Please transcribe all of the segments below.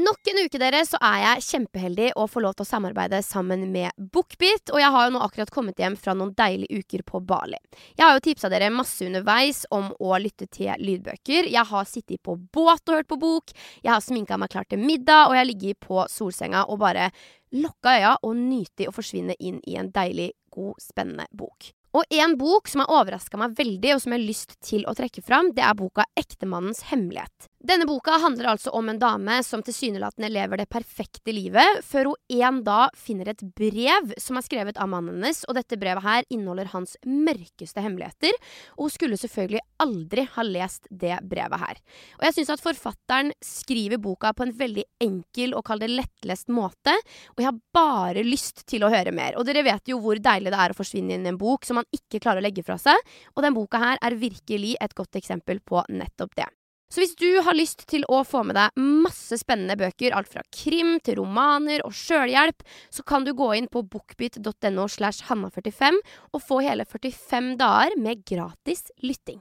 Nok en uke dere, så er jeg kjempeheldig og får lov til å samarbeide sammen med Bookbeat. Og jeg har jo nå akkurat kommet hjem fra noen deilige uker på Bali. Jeg har jo tipsa dere masse underveis om å lytte til lydbøker. Jeg har sittet på båt og hørt på bok. Jeg har sminka meg klar til middag, og jeg har ligget på solsenga og bare lukka øya og nyte å forsvinne inn i en deilig, god, spennende bok. Og en bok som har overraska meg veldig, og som jeg har lyst til å trekke fram, det er boka Ektemannens hemmelighet. Denne boka handler altså om en dame som tilsynelatende lever det perfekte livet, før hun en dag finner et brev som er skrevet av mannen hennes, og dette brevet her inneholder hans mørkeste hemmeligheter, og hun skulle selvfølgelig aldri ha lest det brevet her. Og jeg syns at forfatteren skriver boka på en veldig enkel og kall det lettlest måte, og jeg har bare lyst til å høre mer. Og dere vet jo hvor deilig det er å forsvinne inn i en bok som man ikke klarer å legge fra seg, og den boka her er virkelig et godt eksempel på nettopp det. Så hvis du har lyst til å få med deg masse spennende bøker, alt fra krim til romaner og sjølhjelp, så kan du gå inn på bookbit.no slash hanna45 og få hele 45 dager med gratis lytting.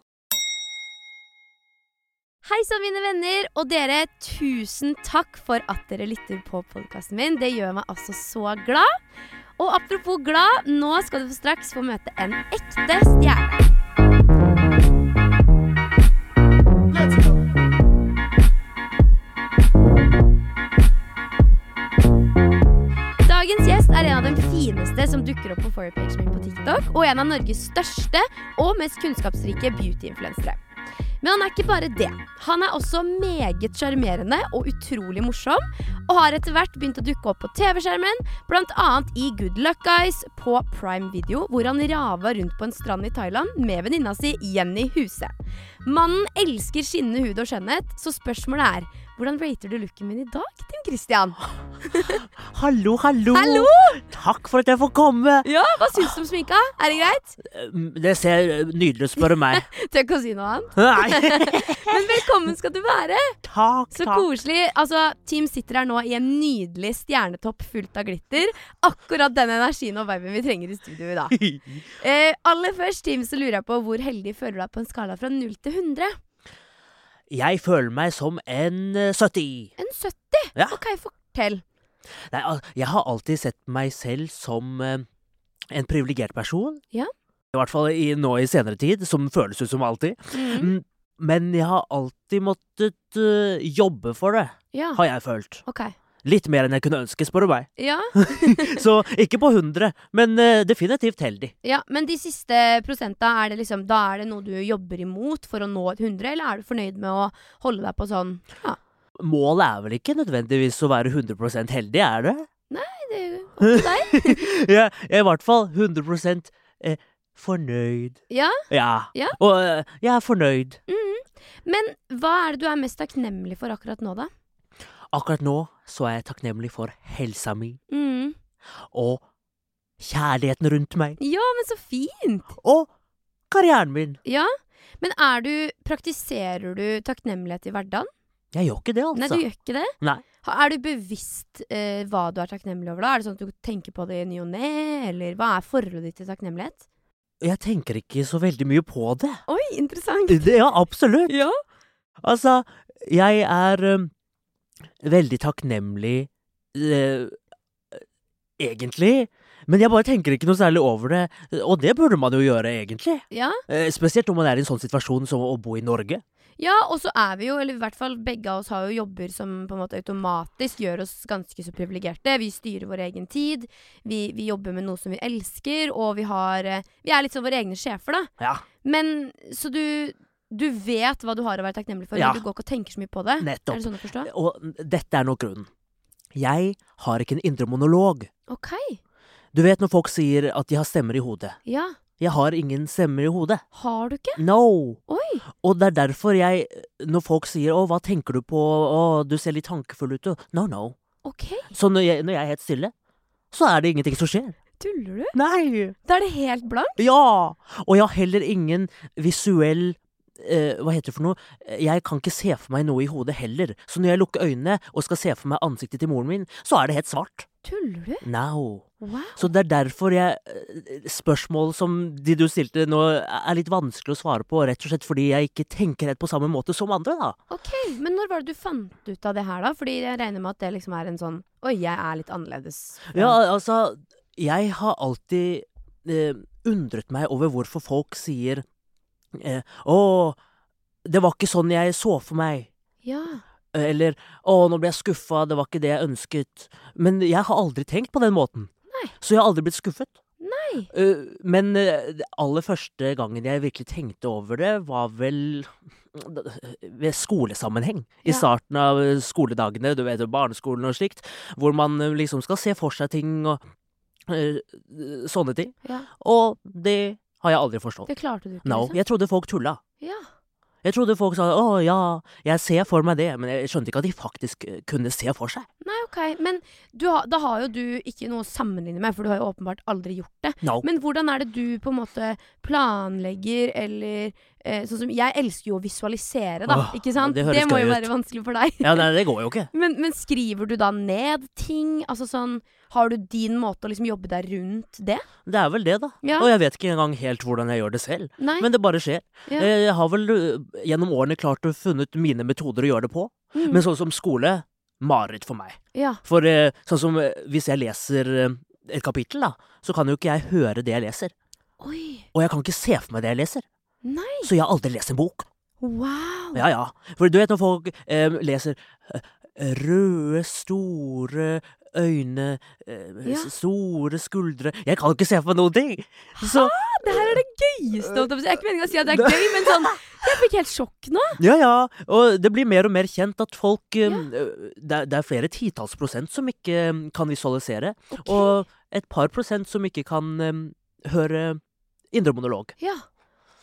Hei sann, mine venner. Og dere, tusen takk for at dere lytter på podkasten min. Det gjør meg altså så glad. Og apropos glad, nå skal du få straks få møte en ekte stjerne. Dagens gjest er en av de fineste som dukker opp på forepagen min på TikTok, og en av Norges største og mest kunnskapsrike beauty-influensere. Men han er ikke bare det. Han er også meget sjarmerende og utrolig morsom, og har etter hvert begynt å dukke opp på TV-skjermen, bl.a. i Good Luck Guys på Prime Video, hvor han rava rundt på en strand i Thailand med venninna si Jenny Huse. Mannen elsker skinnende hud og skjønnhet, så spørsmålet er hvordan rater du looken min i dag, Tim Christian? Hallo, hallo. Hallo! Takk for at jeg får komme. Eh, Ja, Hva syns du om sminka? Er det greit? Det ser nydelig ut, spør du meg. Tør ikke å si noe annet. Nei, Men velkommen skal du være! takk, Så takk. koselig. Altså, Team sitter her nå i en nydelig stjernetopp fullt av glitter. Akkurat den energien og viben vi trenger i studio i dag. Eh, aller først, Team, så lurer jeg på hvor heldig føler du deg på en skala fra 0 til 100? Jeg føler meg som en eh, 70. En 70? Ja. OK, fortell. Nei, al- jeg har alltid sett meg selv som eh, en privilegert person. Ja. I hvert fall i, nå i senere tid, som føles ut som alltid. Mm. Mm, Men jeg har alltid måttet eh, jobbe for det, Ja. har jeg følt. OK. Litt mer enn jeg kunne ønske, spør du meg. Ja. Så ikke på 100, men eh, definitivt heldig. ja. Men de siste prosenta, er det liksom, da er det noe du jobber imot for å nå et 100, eller er du fornøyd med å holde deg på sånn ja, Målet er vel ikke nødvendigvis å være 100 heldig, er det? det er jo opp til deg? Ja, jeg er i hvert fall 100 eh, fornøyd. Ja. Ja. Ja. Og eh, jeg er fornøyd. Mm. Men hva er det du er mest takknemlig for akkurat nå, da? Akkurat nå så er jeg takknemlig for helsa mi Mm. og kjærligheten rundt meg Ja, men så fint! og karrieren min. Ja. Men er du, praktiserer du takknemlighet i hverdagen? Jeg gjør ikke det, altså. Nei, du gjør ikke det? Nei. Ha- Er du bevisst eh, hva du er takknemlig over da? Er det sånn at du tenker på det i ny og ne, eller hva er forholdet ditt til takknemlighet? Jeg tenker ikke så veldig mye på det. Oi, interessant. det ja, absolutt. Ja. Altså, jeg er um, veldig takknemlig eh, Egentlig. Men jeg bare tenker ikke noe særlig over det, og det burde man jo gjøre, egentlig. Ja. Eh, spesielt når man er i en sånn situasjon som å bo i Norge. Ja, og så er vi jo, eller i hvert fall begge av oss har jo jobber som på en måte automatisk gjør oss ganske så privilegerte. Vi styrer vår egen tid, vi, vi jobber med noe som vi elsker, og vi har eh, Vi er litt som våre egne sjefer, da. Ja, Men så du, du vet hva du har å være takknemlig for, Ja. men du går ikke og tenker så mye på det? Er nettopp. det sånn å forstå? Og dette er nok grunnen. Jeg har ikke en indre monolog. OK. Du vet når folk sier at de har stemmer i hodet. Ja. Jeg har ingen stemmer i hodet. Har du ikke? No! Oi. Og det er derfor jeg, når folk sier 'Å, hva tenker du på?' 'Å, du ser litt tankefull ut', og No, no. OK. Så når jeg, når jeg er helt stille, så er det ingenting som skjer. Tuller du? Nei! Da er det helt blankt. Ja! Og jeg har heller ingen visuell eh, Hva heter det for noe? Jeg kan ikke se for meg noe i hodet heller. Så når jeg lukker øynene og skal se for meg ansiktet til moren min, så er det helt svart. Tuller du? Now. Wow. Så det er derfor jeg eh, Spørsmål som de du stilte nå, er litt vanskelig å svare på. Rett og slett fordi jeg ikke tenker helt på samme måte som andre, da. Ok, Men når var det du fant ut av det her, da? Fordi jeg regner med at det liksom er en sånn Oi, jeg er litt annerledes. Ja, altså Jeg har alltid eh, undret meg over hvorfor folk sier eh, Å, det var ikke sånn jeg så for meg. ja. Eller å, nå ble jeg skuffa, det var ikke det jeg ønsket. Men jeg har aldri tenkt på den måten. Nei. Så jeg har aldri blitt skuffet. Nei. Eh, men eh, det aller første gangen jeg virkelig tenkte over det, var vel eh, ved skolesammenheng. Ja. I starten av eh, skoledagene, du vet, barneskolen og slikt, hvor man eh, liksom skal se for seg ting og eh, sånne ting. ja. Og det har jeg aldri forstått. Det klarte du ikke, No. liksom? Jeg trodde folk tulla. Ja. Jeg trodde folk sa 'å ja, jeg ser for meg det', men jeg skjønte ikke at de faktisk eh, kunne se for seg. Nei, ok. Men du har, da har jo du ikke noe å sammenligne med, for du har jo åpenbart aldri gjort det. No. Men hvordan er det du på en måte planlegger, eller eh, Sånn som Jeg elsker jo å visualisere, da. Åh, ikke sant? det høres må jo gøy ut. være vanskelig for deg. Ja, nei, det går jo ikke. Men, men skriver du da ned ting? Altså sånn Har du din måte å liksom jobbe deg rundt det? Det er vel det, da. Ja. Og jeg vet ikke engang helt hvordan jeg gjør det selv. Nei. Men det bare skjer. Ja. Eh, Jeg har vel ø, gjennom årene klart å funnet mine metoder å gjøre det på. Mm. Men sånn som skole mareritt for meg. ja. For eh, sånn som eh, hvis jeg leser eh, et kapittel, da, så kan jo ikke jeg høre det jeg leser. Oi. Og jeg kan ikke se for meg det jeg leser. Nei. Så jeg har aldri lest en bok. Wow. Ja, ja. For du vet når folk eh, leser eh, røde, store øyne, eh, Ja. store skuldre Jeg kan ikke se for meg noen ting! Så Det her er det gøyeste. holdt Jeg på å si. Det er ikke meningen å si at det er gøy, men sånn Jeg fikk helt sjokk nå. Ja, ja. Og det blir mer og mer kjent at folk eh, eh, det, er- det er flere titalls prosent som ikke eh, kan visualisere. Ok. Og et par prosent som ikke kan eh, høre indre monolog. Ja.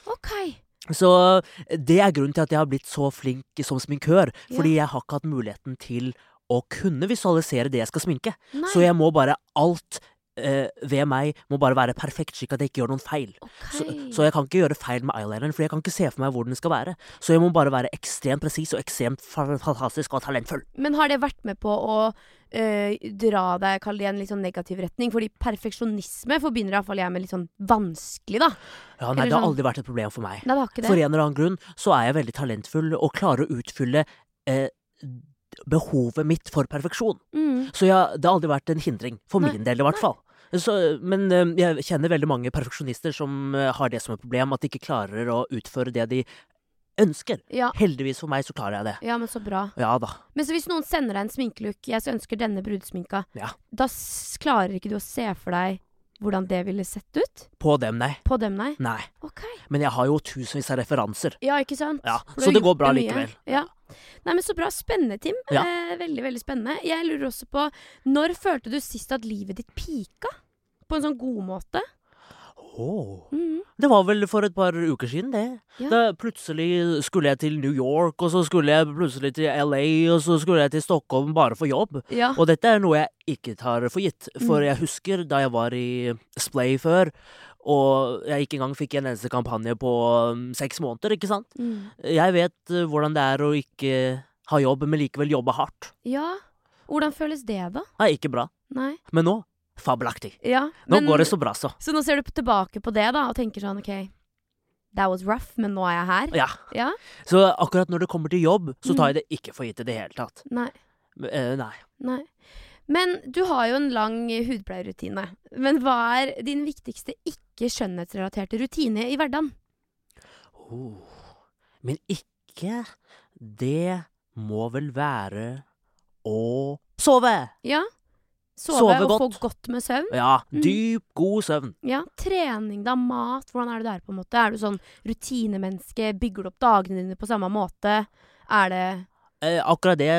OK. Så eh, det er grunnen til at jeg har blitt så flink som sminkør. Fordi jeg har ikke hatt muligheten til å kunne visualisere det jeg skal sminke. Nei. Så jeg må bare alt eh, ved meg må bare være perfekt, slik at jeg ikke gjør noen feil. Ok. Så, så jeg kan ikke gjøre feil med eyelineren, for jeg kan ikke se for meg hvor den skal være. Så jeg må bare være ekstremt presis og ekstremt fa- fantastisk og talentfull. Men har det vært med på å eh, dra deg kall det i en litt sånn negativ retning? Fordi perfeksjonisme forbinder iallfall jeg med litt sånn vanskelig, da. Ja, nei, Eller det har sånn- aldri vært et problem for meg. Nei, det har ikke det. For en eller annen grunn så er jeg veldig talentfull og klarer å utfylle eh, d- behovet mitt for perfeksjon. Mm. Så jeg, det har aldri vært en hindring, for Nei, min del i hvert fall. Så, men eh, jeg kjenner veldig mange perfeksjonister som eh, har det som et problem, at de ikke klarer å utføre det de ønsker. Ja. Heldigvis for meg så klarer jeg det. ja, men så bra. Ja da. Men så hvis noen sender deg en sminkelook, jeg så ønsker denne brudesminka, Ja. da s klarer ikke du å se for deg hvordan det ville sett ut? På dem, nei. På dem, nei? Nei. Ok. Men jeg har jo tusenvis av referanser. Ja, ikke sant? Ja, For du så har det går gjort bra mye. likevel. Ja. Nei, men Så bra. Spennende, Tim. Ja. Eh, veldig veldig spennende. Jeg lurer også på Når følte du sist at livet ditt pika? På en sånn god måte? Åh. Mhm. Det var vel for et par uker siden, det. Ja. Da plutselig skulle jeg til New York, og så skulle jeg plutselig til LA, og så skulle jeg til Stockholm bare for jobb. Ja. Og dette er noe jeg ikke tar for gitt, for Mm. jeg husker da jeg var i Splay før, og jeg ikke engang fikk en eneste kampanje på um, seks måneder, ikke sant? Mm. Jeg vet uh, hvordan det er å ikke ha jobb, men likevel jobbe hardt. ja. Hvordan føles det, da? Nei, ikke bra. Nei. Men nå, fabelaktig. Ja. Nå men- går det så bra, så. Så nå ser du p- tilbake på det da og tenker sånn OK, that was rough, men nå er jeg her? Ja. Ja? Så akkurat når det kommer til jobb, så tar jeg det ikke for gitt i det hele tatt. Nei. Eh, nei. Nei. Men du har jo en lang eh, hudpleierrutine. Men hva er din viktigste ikke-skjønnhetsrelaterte rutine i hverdagen? Oh. Men ikke Det må vel være å sove! Ja. Sove, Sove og godt. få godt med søvn. Ja, Mm. dyp, god søvn. Ja, Trening, da. Mat. Hvordan er det der, på en måte? Er du sånn rutinemenneske? Bygger du opp dagene dine på samme måte? Er det Eh, akkurat det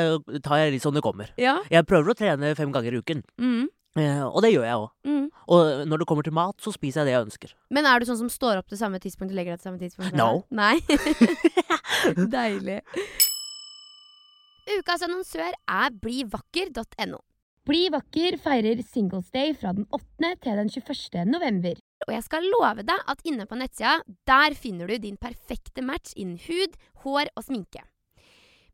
tar jeg litt som det kommer. Ja. Jeg prøver å trene fem ganger i uken, Mm, eh, og det gjør jeg òg. mm. Og når det kommer til mat, så spiser jeg det jeg ønsker. Men er du sånn som står opp til samme tidspunkt og legger deg til samme tidspunkt? No. Nei? Deilig. Ukas annonsør er blivakker.no. Bli vakker feirer Singles Day fra den 8. til den 21. november. Og jeg skal love deg at inne på nettsida der finner du din perfekte match innen hud, hår og sminke.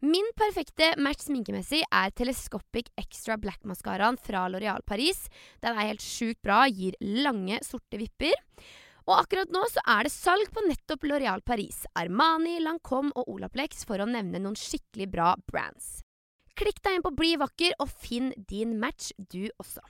Min perfekte match sminkemessig er Telescopic Extra Black-maskaraen fra Loreal Paris. Den er helt sjukt bra, gir lange, sorte vipper. Og akkurat nå så er det salg på nettopp Loreal Paris, Armani, Lancôme og Olaplex, for å nevne noen skikkelig bra brands. Klikk deg inn på Bli vakker og finn din match, du også.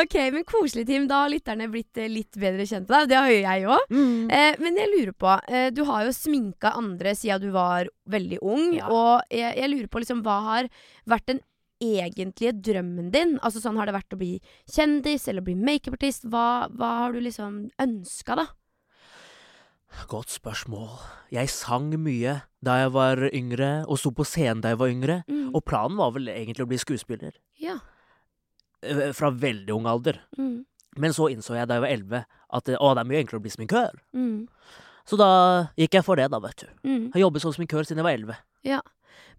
Ok, men Koselig, Tim. Da har lytterne blitt eh, litt bedre kjent med deg. Det har jo jeg òg. Mm. Eh, men jeg lurer på, eh, du har jo sminka andre siden du var veldig ung. Ja. Og jeg, jeg lurer på liksom, hva har vært den egentlige drømmen din? Altså sånn Har det vært å bli kjendis eller bli makeupartist? Hva, hva har du liksom ønska, da? Godt spørsmål. Jeg sang mye da jeg var yngre, og sto på scenen da jeg var yngre. Og planen var vel egentlig å bli skuespiller. ja. eh, Fra veldig ung alder. Mm. Men så innså jeg da jeg var elleve at eh, å, det er mye enklere å bli sminkør. Mm. Så da gikk jeg for det, da, vet du. Mm. Har jobbet som sminkør siden jeg var elleve.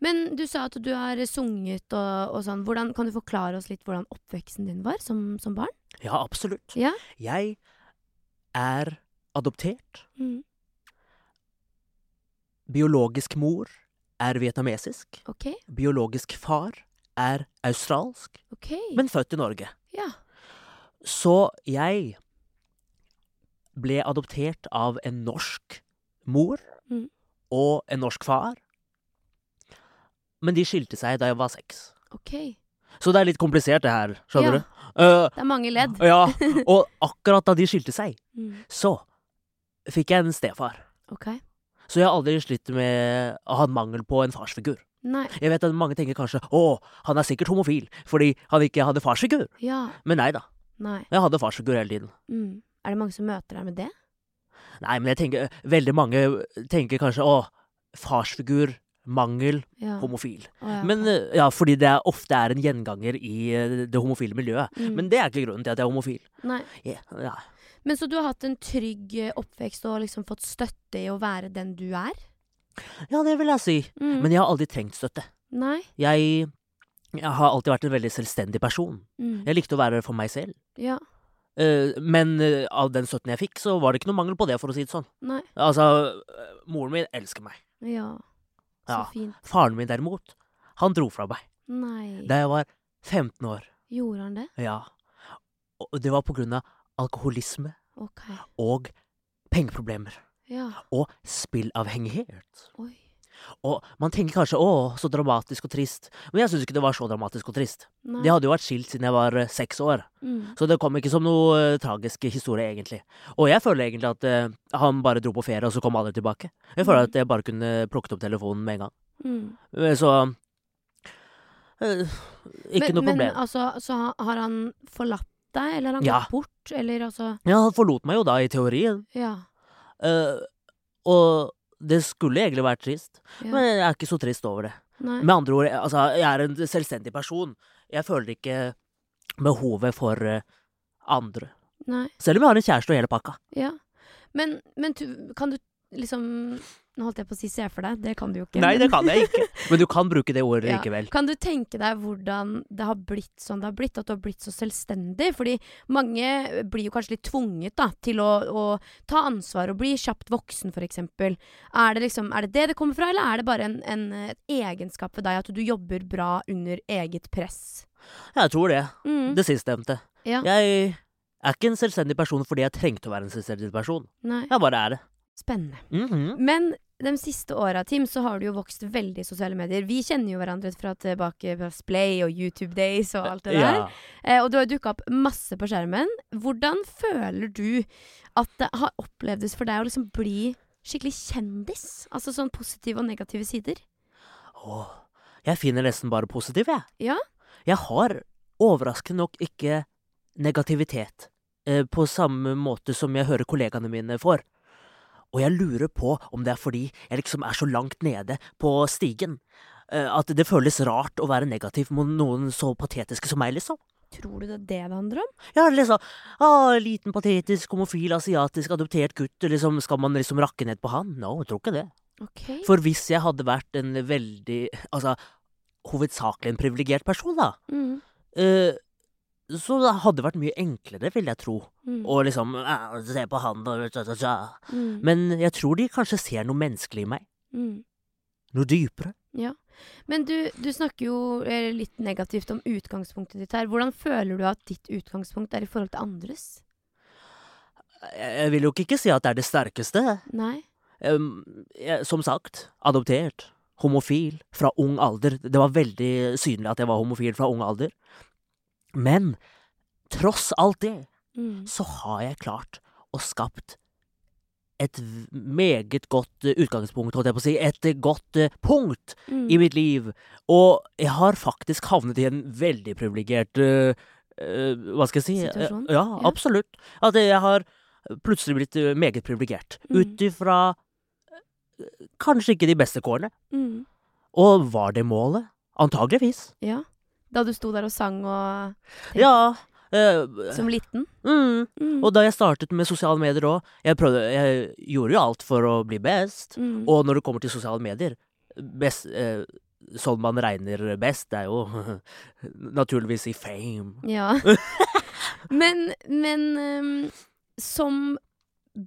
Men du sa at du har sunget og, og sånn. Hvordan, kan du forklare oss litt hvordan oppveksten din var som, som barn? Ja, absolutt. Ja. Jeg er adoptert. Biologisk mor er vietnamesisk. OK. Biologisk far er australsk, ok. men født i Norge. ja. Så jeg ble adoptert av en norsk mor Mm. og en norsk far. Men de skilte seg da jeg var seks. OK. Det Så det er litt komplisert, det her. Ja. Skjønner du? Eh, er mange ledd. ja, og akkurat da de skilte seg, Mm. så fikk jeg en stefar. OK. Så jeg har aldri slitt med å ha en mangel på en farsfigur. Nei. Jeg vet at mange tenker kanskje å, han er sikkert homofil fordi han ikke hadde farsfigur. Ja. Men nei da, Nei. jeg hadde farsfigur hele tiden. Mm. Er det mange som møter deg med det? Nei, men jeg tenker, eh, veldig mange tenker kanskje å, farsfigur, mangel, Ja. homofil. Å, ja. Men eh, ja, fordi det er, ofte er en gjenganger i eh, det homofile miljøet. Mm. Men det er ikke grunnen til at jeg er homofil. Nei. Ja, ja. Men så du har hatt en trygg eh, oppvekst og liksom fått støtte i å være den du er? ja, det vil jeg si. Mm. Men jeg har aldri trengt støtte. Nei. Jeg, jeg har alltid vært en veldig selvstendig person. Mm. Jeg likte å være for meg selv. Ja. Eh, men eh, av den støtten jeg fikk, så var det ikke noe mangel på det, for å si det sånn. Nei. Altså, eh, moren min elsker meg. Ja. Så Ja. fint. Faren min derimot, han dro fra meg Nei. da jeg var 15 år. Gjorde han det? Ja. Og det var på grunn av alkoholisme OK. og pengeproblemer. Ja. Og spillavhengighet. Oi. Og man tenker kanskje 'å, så dramatisk og trist', men jeg syns ikke det var så dramatisk og trist. Nei. De hadde jo vært skilt siden jeg var eh, seks år. Mm. Så det kom ikke som noe eh, tragisk historie, egentlig. Og jeg føler egentlig at eh, han bare dro på ferie, og så kom aldri tilbake. Jeg føler Mhm. at jeg bare kunne plukket opp telefonen med en gang. Mm. Eh, Så eh, Ikke men, noe problem. Men altså, så ha- har han forlatt deg, eller har han Ja. gått bort, eller altså ja, han forlot meg jo da, i teorien. Ja. Eh, og det skulle egentlig vært trist, ja. men jeg er ikke så trist over det. Nei. Med andre ord, jeg- altså, jeg er en selvstendig person. Jeg føler ikke behovet for eh, andre. Nei. Selv om jeg har en kjæreste og hele pakka. Ja. Men, men tu- kan du liksom Nå holdt jeg på å si se for deg, det kan du jo ikke. Nei, men- det kan jeg ikke. Men du kan bruke det ordet Ja. likevel. Kan du tenke deg hvordan det har blitt sånn det har blitt, at du har blitt så selvstendig? Fordi mange blir jo kanskje litt tvunget da, til å, å ta ansvar og bli kjapt voksen, f.eks. Er, det liksom, er det det det kommer fra, eller er det bare en, en eh, egenskap ved deg at du jobber bra under eget press? Jeg tror det. Mm. Det sistnevnte. Ja. Jeg er ikke en selvstendig person fordi jeg trengte å være en selvstendig person. Nei. Jeg bare er det. Spennende. Mhm. Men de siste åra, Tim, så har du jo vokst veldig i sosiale medier. Vi kjenner jo hverandre fra tilbake fra Splay og YouTube Days og alt det der. Ja. Eh, og du har dukka opp masse på skjermen. Hvordan føler du at det har opplevdes for deg å liksom bli skikkelig kjendis? Altså sånn positive og negative sider. Åh, jeg finner nesten bare positiv, jeg. Ja. Jeg har overraskende nok ikke negativitet eh, på samme måte som jeg hører kollegaene mine får. Og jeg lurer på om det er fordi jeg liksom er så langt nede på stigen eh, at det føles rart å være negativ mot noen så patetiske som meg, liksom. Tror du det er det det handler om? Ja, liksom ah, Liten, patetisk, homofil, asiatisk, adoptert gutt liksom, Skal man liksom rakke ned på han? No, jeg tror ikke det. Ok. For hvis jeg hadde vært en veldig Altså, hovedsakelig en privilegert person, da, mm, eh, så det hadde vært mye enklere, vil jeg tro, mm, å liksom ah, Se på han og tja, tja, tja. mm, Men jeg tror de kanskje ser noe menneskelig i meg. mm. noe dypere. Men du, du snakker jo eh, litt negativt om utgangspunktet ditt her. Hvordan føler du at ditt utgangspunkt er i forhold til andres? Jeg jeg vil jo ikke si at det er det sterkeste. Nei? Em, jeg, som sagt, adoptert. Homofil fra ung alder. Det var veldig synlig at jeg var homofil fra ung alder. Men tross alt det, Mm. så har jeg klart å skapt et v- meget godt eh, utgangspunkt, holdt jeg på å si. Et eh, godt eh, punkt Mm. i mitt liv. Og jeg har faktisk havnet i en veldig privilegert Hva skal jeg si? eh, Situasjon? Ja, Ja. absolutt. At jeg har plutselig blitt eh, meget privilegert. Mm. Ut ifra eh, kanskje ikke de beste kårene. Mm. Og var det målet? Antageligvis. Ja. Da du sto der og sang og Tenk. Ja. eh, Som liten? mm. Mm. Og da jeg startet med sosiale medier òg, jeg, prøvde- jeg gjorde jo alt for å bli best. Mm. Og når det kommer til sosiale medier best, eh, Sånn man regner best, det er jo naturligvis i fame. Ja. men men ehm, som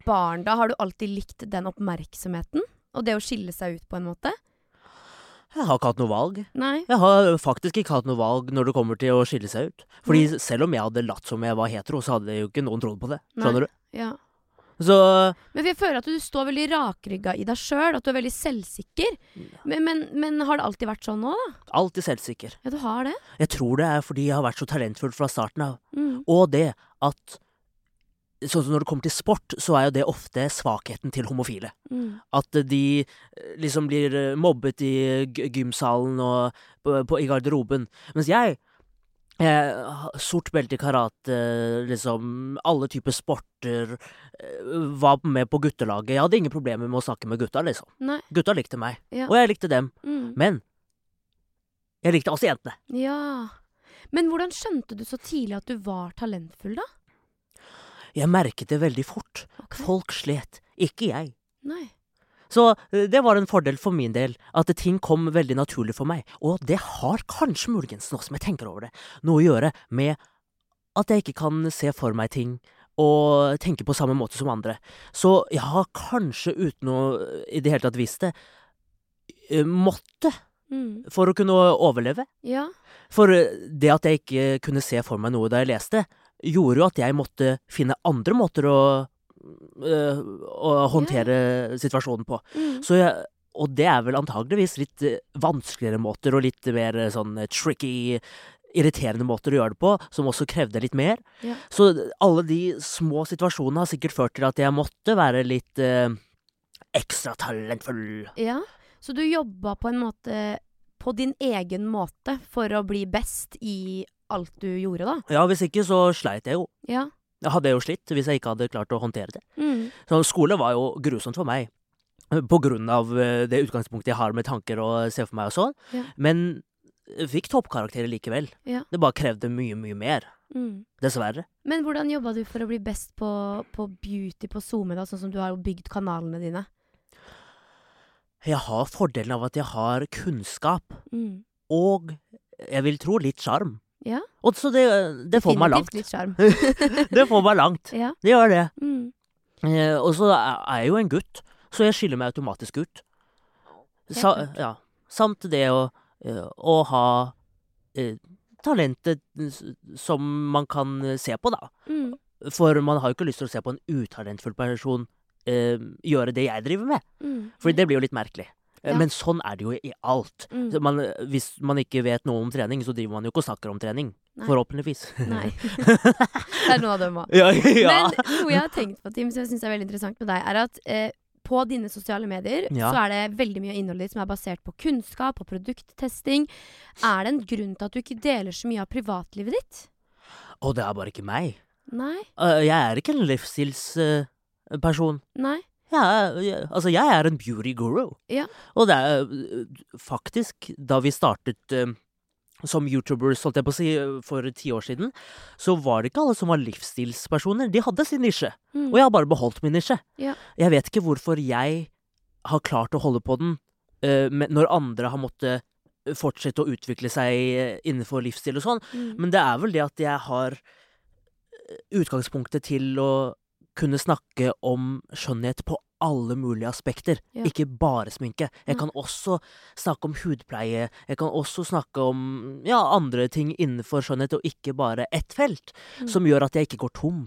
barn, da, har du alltid likt den oppmerksomheten? Og det å skille seg ut, på en måte? Jeg har ikke hatt noe valg. Nei. Jeg har faktisk ikke hatt noe valg når det kommer til å skille seg ut. Fordi Mm. selv om jeg hadde latt som jeg var hetero, så hadde jo ikke noen trodd på det. Skjønner du? Ja. Så Men for jeg føler at du står veldig rakrygga i deg sjøl, at du er veldig selvsikker. Men, men, men har det alltid vært sånn nå, da? alltid selvsikker. Ja, du har det? Jeg tror det er fordi jeg har vært så talentfull fra starten av. Mm. Og det at Sånn som når det kommer til sport, så er jo det ofte svakheten til homofile. Mm. At eh, de eh, liksom blir eh, mobbet i g- gymsalen og på, på, i garderoben. Mens jeg eh, ha- Sort belte i karate, liksom alle typer sporter. eh, Var med på guttelaget. Jeg hadde ingen problemer med å snakke med gutta, liksom. Nei. Gutta likte meg, Ja. og jeg likte dem. Mm. Men jeg likte også jentene. Ja. Men hvordan skjønte du så tidlig at du var talentfull, da? Jeg merket det veldig fort. Ok. Folk slet. Ikke jeg. Nei. Så eh, det var en fordel for min del, at ting kom veldig naturlig for meg. Og det har kanskje muligens, nå som jeg tenker over det, noe å gjøre med at jeg ikke kan se for meg ting og tenke på samme måte som andre. Så jeg har kanskje, uten å eh, i det hele tatt visst det, eh, måtte Mm. for å kunne overleve. Ja. For eh, det at jeg ikke kunne se for meg noe da jeg leste, gjorde jo at jeg måtte finne andre måter å, eh, å håndtere situasjonen på. Mm. Så jeg, og det er vel antageligvis litt eh, vanskeligere måter og litt mer eh, sånn eh, tricky, irriterende måter å gjøre det på, som også krevde litt mer. Ja. Så alle de små situasjonene har sikkert ført til at jeg måtte være litt eh, ekstra talentfull. Ja, så du jobba på en måte på din egen måte for å bli best i alt du gjorde, da? Ja, hvis ikke så sleit jeg jo. Ja. Jeg hadde jo slitt hvis jeg ikke hadde klart å håndtere det. Mm. Så skole var jo grusomt for meg. eh, På grunn av eh, det utgangspunktet jeg har med tanker og ser for meg og sånn. Ja. Men jeg fikk toppkarakterer likevel. Ja. Det bare krevde mye, mye mer. Mm. Dessverre. Men hvordan jobba du for å bli best på, på beauty på SoMe, da, sånn som du har jo bygd kanalene dine? Jeg har fordelen av at jeg har kunnskap Mm. og jeg vil tro litt sjarm. Ja. Og så det, det får meg langt. Definitivt litt sjarm. Det får meg langt. ja. Det gjør det. Mm. Eh, Og så er jeg jo en gutt, så jeg skiller meg automatisk ut. Sa, klart. ja. Samt det å, eh, å ha eh, talentet s- som man kan eh, se på, da. Mm. For man har jo ikke lyst til å se på en utalentfull person eh, gjøre det jeg driver med. Mm. Fordi det blir jo litt merkelig. Eh, Ja. Men sånn er det jo i alt. Mm. Så man, hvis man ikke vet noe om trening, så driver man jo ikke og snakker om trening. Nei. Forhåpentligvis. Nei. det er noen av dem òg. ja, ja. Men noe jeg har tenkt på, Tim, som jeg synes er veldig interessant med deg, er at eh, på dine sosiale medier Ja. så er det veldig mye av innholdet ditt som er basert på kunnskap og produkttesting. Er det en grunn til at du ikke deler så mye av privatlivet ditt? Og det er bare ikke meg. Nei. Eh, Jeg er ikke en livsstilsperson. Nei. Jeg er, jeg, altså, jeg er en beauty guru. Ja. Og det er eh, faktisk da vi startet eh, som youtubers, holdt jeg på å si, eh, for ti år siden, så var det ikke alle som var livsstilspersoner. De hadde sin nisje. Mm. Og jeg har bare beholdt min nisje. Ja. Jeg vet ikke hvorfor jeg har klart å holde på den eh, men- når andre har måttet eh, fortsette å utvikle seg eh, innenfor livsstil og sånn. Mm. Men det er vel det at jeg har eh, utgangspunktet til å kunne snakke om skjønnhet på alle mulige aspekter. Ja. Ikke bare sminke. Nei. Jeg kan også snakke om hudpleie. Jeg kan også snakke om ja, andre ting innenfor skjønnhet, og ikke bare ett felt. Mm. Som gjør at jeg ikke går tom.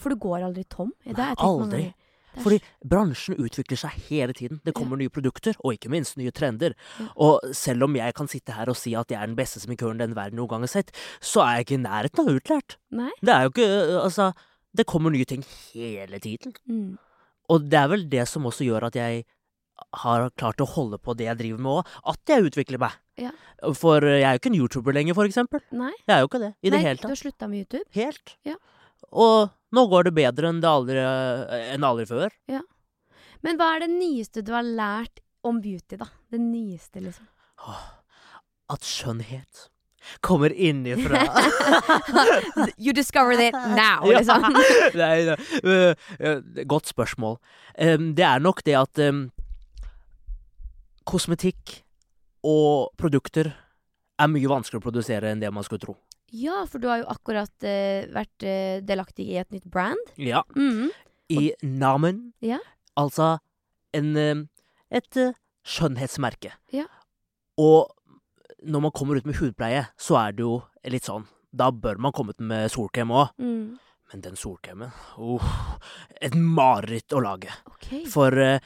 For du går aldri tom? Det har jeg Nei, tenkt mange aldri. ganger. Det er Fordi bransjen utvikler seg hele tiden. Det kommer nye produkter, og ikke minst nye trender. Og selv om jeg kan sitte her og si at jeg er den beste sminkøren den verden noen gang har sett, så er jeg ikke i nærheten av utlært. Nei. Det er jo ikke øh, Altså, det kommer nye ting hele tiden. Mm. Og det er vel det som også gjør at jeg har klart å holde på det jeg driver med òg. At jeg utvikler meg. Ja. For jeg er jo ikke en YouTuber lenger, for eksempel. Nei. Jeg er jo ikke det i det Nei, hele Du tatt. har slutta med YouTube? Helt. Ja. Og nå går det bedre enn det aldri, enn aldri før. Men hva er det nyeste du har lært om beauty, da? Det nyeste, liksom. At skjønnhet kommer innifra. You discovered it now, Ja. liksom. Nei, nei, øh, øh, godt spørsmål. Em, det er nok det at em, kosmetikk og produkter er mye vanskeligere å produsere enn det man skulle tro. Ja, for du har jo akkurat eh, vært eh, delaktig i et nytt brand. Ja. Mhm. I Namen. Ja. Altså en, em, et eh, skjønnhetsmerke. Ja. Og når man kommer ut med hudpleie, så er det jo litt sånn Da bør man komme ut med solkrem òg. Mm. Men den solkremen uff, Et mareritt å lage. Ok. For eh,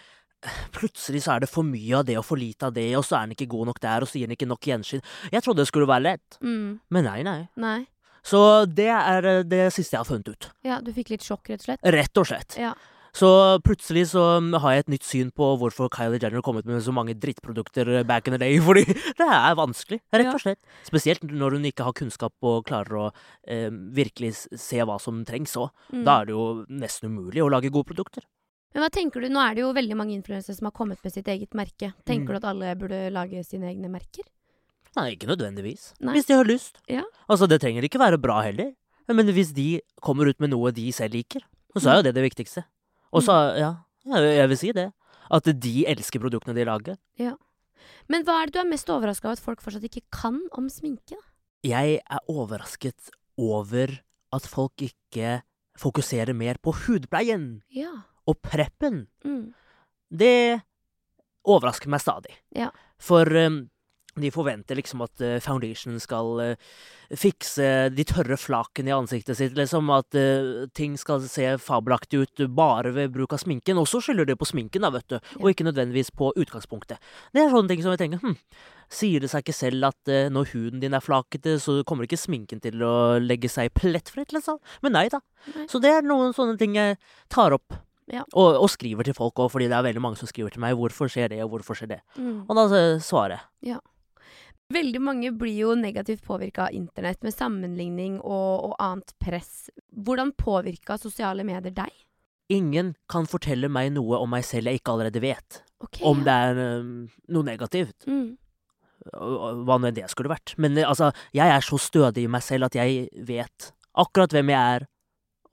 plutselig så er det for mye av det og for lite av det, og så er den ikke god nok der, og så gir den ikke nok gjenskinn. Jeg trodde det skulle være lett, Mm. men nei, nei. Nei. Så det er eh, det siste jeg har funnet ut. Ja, du fikk litt sjokk, rett og slett? Rett og slett. Ja. Så plutselig så mm, har jeg et nytt syn på hvorfor Kylie Jenner kom ut med så mange drittprodukter eh, back in the day, fordi det er vanskelig, rett Ja. og slett. Spesielt når hun ikke har kunnskap og klarer å eh, virkelig s- se hva som trengs òg. Mm. Da er det jo nesten umulig å lage gode produkter. Men hva tenker du, Nå er det jo veldig mange influensere som har kommet med sitt eget merke. Tenker Mm. du at alle burde lage sine egne merker? Nei, ikke nødvendigvis. Nei. Hvis de har lyst. Ja. Altså, det trenger ikke være bra heller. Men hvis de kommer ut med noe de selv liker, så Mm. er jo det det viktigste. Og så, ja, ja, jeg vil si det. At de elsker produktene de lager. Men hva er det du er mest overraska over at folk fortsatt ikke kan om sminke? da? Jeg er overrasket over at folk ikke fokuserer mer på hudpleien Ja. og preppen. Mm. Det overrasker meg stadig. Ja. For um, de forventer liksom at eh, foundation skal eh, fikse de tørre flakene i ansiktet sitt, liksom. At eh, ting skal se fabelaktig ut bare ved bruk av sminken. Og så skylder de på sminken, da, vet du. Ja. Og ikke nødvendigvis på utgangspunktet. Det er sånne ting som jeg tenker hm, Sier det seg ikke selv at eh, når huden din er flakete, så kommer ikke sminken til å legge seg plettfritt, liksom? Men nei da. Nei. Så det er noen sånne ting jeg tar opp. Ja. Og, og skriver til folk òg, fordi det er veldig mange som skriver til meg 'hvorfor skjer det', og 'hvorfor skjer det'. Mm. Og da eh, svarer jeg. Veldig mange blir jo negativt påvirka av internett med sammenligning og, og annet press. Hvordan påvirka sosiale medier deg? Ingen kan fortelle meg noe om meg selv jeg ikke allerede vet. Ok, Om ja. det er eh, noe negativt. mm. og- og Hva nå enn det skulle vært. Men eh, altså, jeg er så stødig i meg selv at jeg vet akkurat hvem jeg er,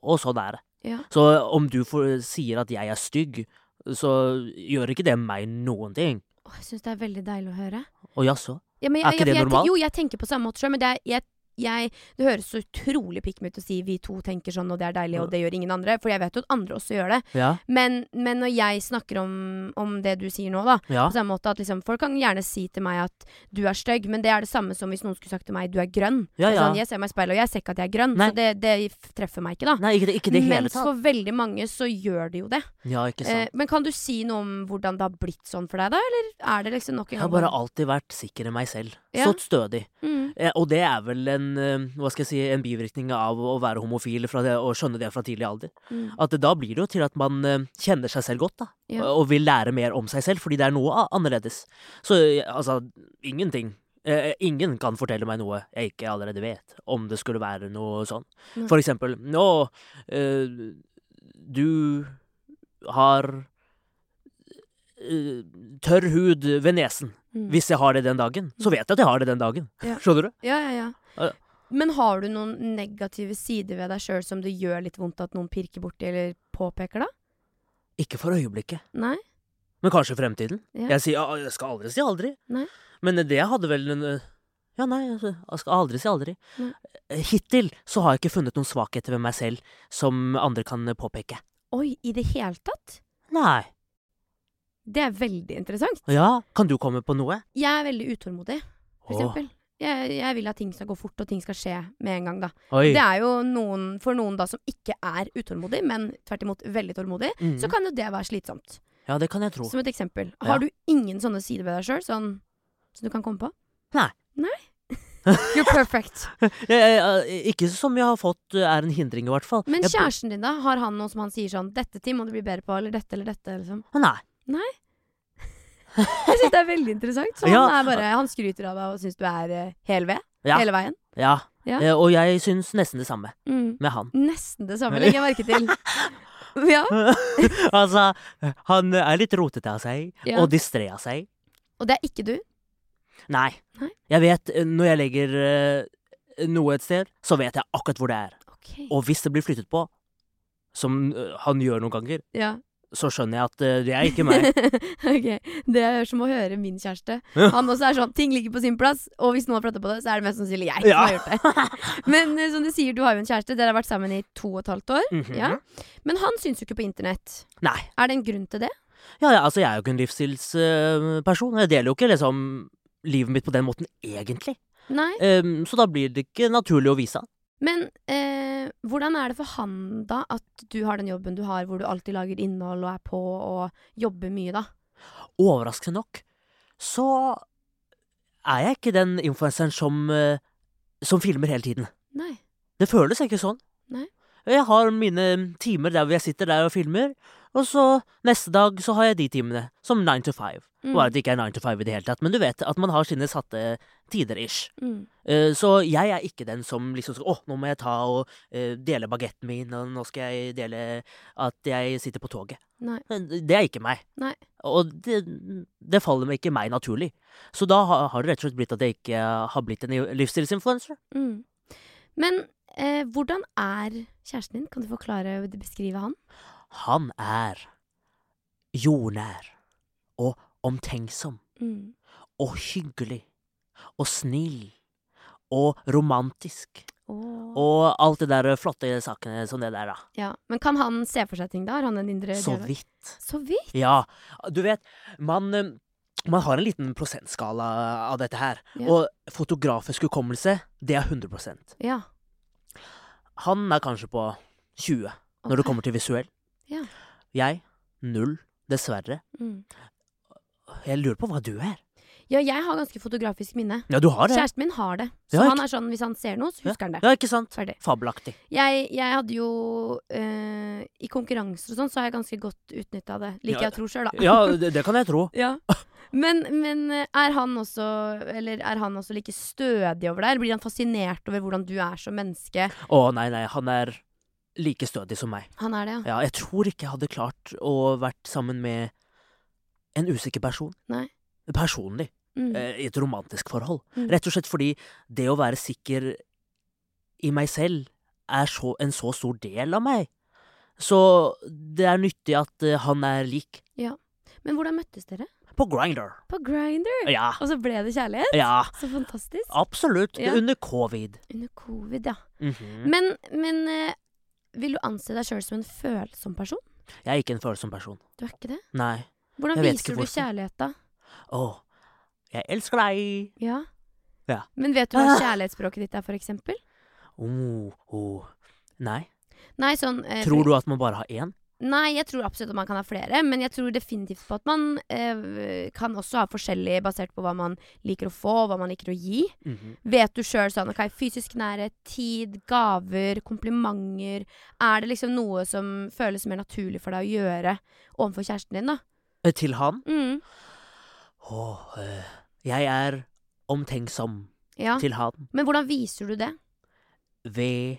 og sånn er det. Ja. Så om du får, sier at jeg er stygg, så gjør ikke det meg noen ting. Å, jeg syns det er veldig deilig å høre. Å jaså? Ja, men, Er ikke det jeg, normalt? Jo, jeg tenker på samme måte sjøl, men det, er, jeg, jeg, det høres så utrolig pikk meg ut å si vi to tenker sånn, og det er deilig, og det gjør ingen andre. For jeg vet jo at andre også gjør det. Ja. Men, men når jeg snakker om, om det du sier nå, da ja. på samme måte at liksom, Folk kan gjerne si til meg at du er stygg, men det er det samme som hvis noen skulle sagt til meg du er grønn. Ja, Det er ja. Sånn, jeg ser meg i speilet, og jeg ser ikke at jeg er grønn, Nei. så det, det f- treffer meg ikke, da. Nei, ikke det, ikke det hele Mens tatt. for veldig mange så gjør det jo det. Ja, ikke sant. Eh, men kan du si noe om hvordan det har blitt sånn for deg, da? Eller er det liksom nok en Jeg har gang bare alltid vært sikker i meg selv. Ja. Stått stødig. mm. Eh, Og det er vel en, eh, hva skal jeg si, en bivirkning av å være homofil fra det, og skjønne det fra tidlig alder. Mm. At da blir det jo til at man eh, kjenner seg selv godt, da. Ja. Og og vil lære mer om seg selv, fordi det er noe a- annerledes. Så eh, altså, ingenting. Eh, ingen kan fortelle meg noe jeg ikke allerede vet, om det skulle være noe sånn. Nei. For eksempel, nå eh, Du har eh, tørr hud ved nesen. Mm. Hvis jeg har det den dagen, så vet jeg at jeg har det den dagen. Ja. Skjønner du? Ja, ja, Ja, ja. ja. Men har du noen negative sider ved deg sjøl som det gjør litt vondt at noen pirker borti eller påpeker, da? Ikke for øyeblikket, Nei? men kanskje i fremtiden. Ja. Jeg, sier, «Ah, jeg skal aldri si aldri. Nei. Men det hadde vel en eh, Ja, nei, altså, jeg skal aldri si aldri. Nei. Eh, Hittil så har jeg ikke funnet noen svakheter ved meg selv som andre kan eh, øh, påpeke. Oi, i det hele tatt? Nei. Det er veldig interessant. Ja, kan du komme på noe? Jeg er veldig utålmodig, for Åh, eksempel. Jeg, jeg vil at ting skal gå fort, og ting skal skje med en gang, da. Oi. Det er jo noen, for noen da som ikke er utålmodig, men tvert imot veldig tålmodig, Mm. så kan jo det være slitsomt. Ja, det kan jeg tro. Som et eksempel. Ja. Har du ingen sånne sider ved deg sjøl, sånn som du kan komme på? Nei. Nei? You're perfect. Jeg, jeg, jeg, ikke som jeg har fått eh, er en hindring, i hvert fall. Men jeg, kjæresten din, da? Har han noe som han sier sånn 'Dette ting må du bli bedre på', eller 'dette eller dette', liksom? Nei. Jeg synes det er veldig interessant. Så Ja. han, er bare, han skryter av deg og syns du er eh, hel ved Ja. hele veien. Ja. Ja. Eh, Og jeg syns nesten det samme Mm. med han. Nesten det samme, legger jeg merke til. Ja. altså, han er litt rotete av seg, Ja. og distré av seg. Og det er ikke du. Nei. Nei. Jeg vet, eh, når jeg legger eh, noe et sted, så vet jeg akkurat hvor det er. Ok. Og hvis det blir flyttet på, som eh, han gjør noen ganger, Ja. så skjønner jeg at eh, det er ikke meg. ok, Det er som å høre min kjæreste. Ja. Han også er sånn, Ting ligger på sin plass, og hvis noen har prata på det, så er det mest sannsynlig jeg Ja. som har gjort det. Men eh, som du sier, du har jo en kjæreste. Dere har vært sammen i to og et halvt år. Mhm. Ja. Men han syns jo ikke på internett. Nei. Er det en grunn til det? Ja, ja, altså, jeg er jo ikke en livsstilsperson. Jeg deler jo ikke liksom livet mitt på den måten, egentlig. Nei. Ehm, så da blir det ikke naturlig å vise han. Men eh, hvordan er det for han da at du har den jobben du har, hvor du alltid lager innhold og er på og jobber mye, da? Overraskende nok så er jeg ikke den influenseren som, eh, som filmer hele tiden. Nei. Det føles ikke sånn. Nei. Jeg har mine timer der hvor jeg sitter der og filmer, og så neste dag så har jeg de timene, som nine to five. Mm. Bare at det ikke er nine to five i det hele tatt, men du vet at man har sine satte tider ish. Mm. Eh, Så jeg er ikke den som liksom skal Å, nå må jeg ta og eh, dele bagetten min, og nå skal jeg dele at jeg sitter på toget. Nei. Men Det er ikke meg. Nei. Og det, det faller meg ikke meg naturlig. Så da har, har det rett og slett blitt at jeg ikke har blitt en livsstilsinfluencer. Mm. Men eh, hvordan er kjæresten din? Kan du forklare og beskrive han? Han er jordnær og omtenksom Mm. og hyggelig og snill og romantisk Åh. og alt det der flotte sakene som det der, da. Ja. Men kan han se for seg ting, da? Har han en indre Så dialog? vidt. Så vidt? Ja, du vet, man, eh, man har en liten prosentskala av dette her. Ja. Og fotografisk hukommelse, det er 100 Ja. Han er kanskje på 20 når det ok. kommer til visuell. Ja. Jeg null, dessverre. Mm. Jeg lurer på hva du er. Ja, jeg har ganske fotografisk minne. Ja, du har det. Kjæresten min har det. Så Ja, ikke- han er sånn, hvis han ser noe, så husker han det. Ja, ikke sant? Ferdig. Fabelaktig. Jeg, jeg hadde jo eh, I konkurranser og sånn, så har jeg ganske godt utnytta det. Liker Ja. jeg å tro sjøl, da. Ja, det, det kan jeg tro. Ja. Men, men eh, er han også Eller er han også like stødig over deg? Eller Blir han fascinert over hvordan du er som menneske? Å nei, nei, han er like stødig som meg. Han er det, ja. Ja, jeg tror ikke jeg hadde klart å vært sammen med en usikker person. Nei. Personlig. Mm. eh, i et romantisk forhold. Mm. Rett og slett fordi det å være sikker i meg selv er så, en så stor del av meg. Så det er nyttig at eh, han er lik Men hvordan møttes dere? på Grinder. På Grinder! Ja, Og så ble det kjærlighet? ja, Så fantastisk. absolutt. Ja. Mm. Under covid. Under covid, ja. Mhm. Men, men eh, vil du anse deg sjøl som en følsom person? Jeg er ikke en følsom person. Du er ikke det? Nei. Hvordan Jeg vet viser ikke du hvorfor. kjærlighet, da? Åh, jeg elsker deg. Ja. Ja. Men vet du hva kjærlighetsspråket ditt er, for eksempel? Oh, oh. Nei. Nei, sånn eh, Tror du at man bare har én? Nei, jeg tror absolutt at man kan ha flere, men jeg tror definitivt på at man eh, kan også ha forskjellig basert på hva man liker å få, hva man liker å gi. Mhm. Vet du sjøl sånn OK, fysisk nærhet, tid, gaver, komplimenter Er det liksom noe som føles mer naturlig for deg å gjøre overfor kjæresten din, da? Eh, Til han? Mm. Åh, eh, jeg er omtenksom Ja. til han. Men hvordan viser du det? ved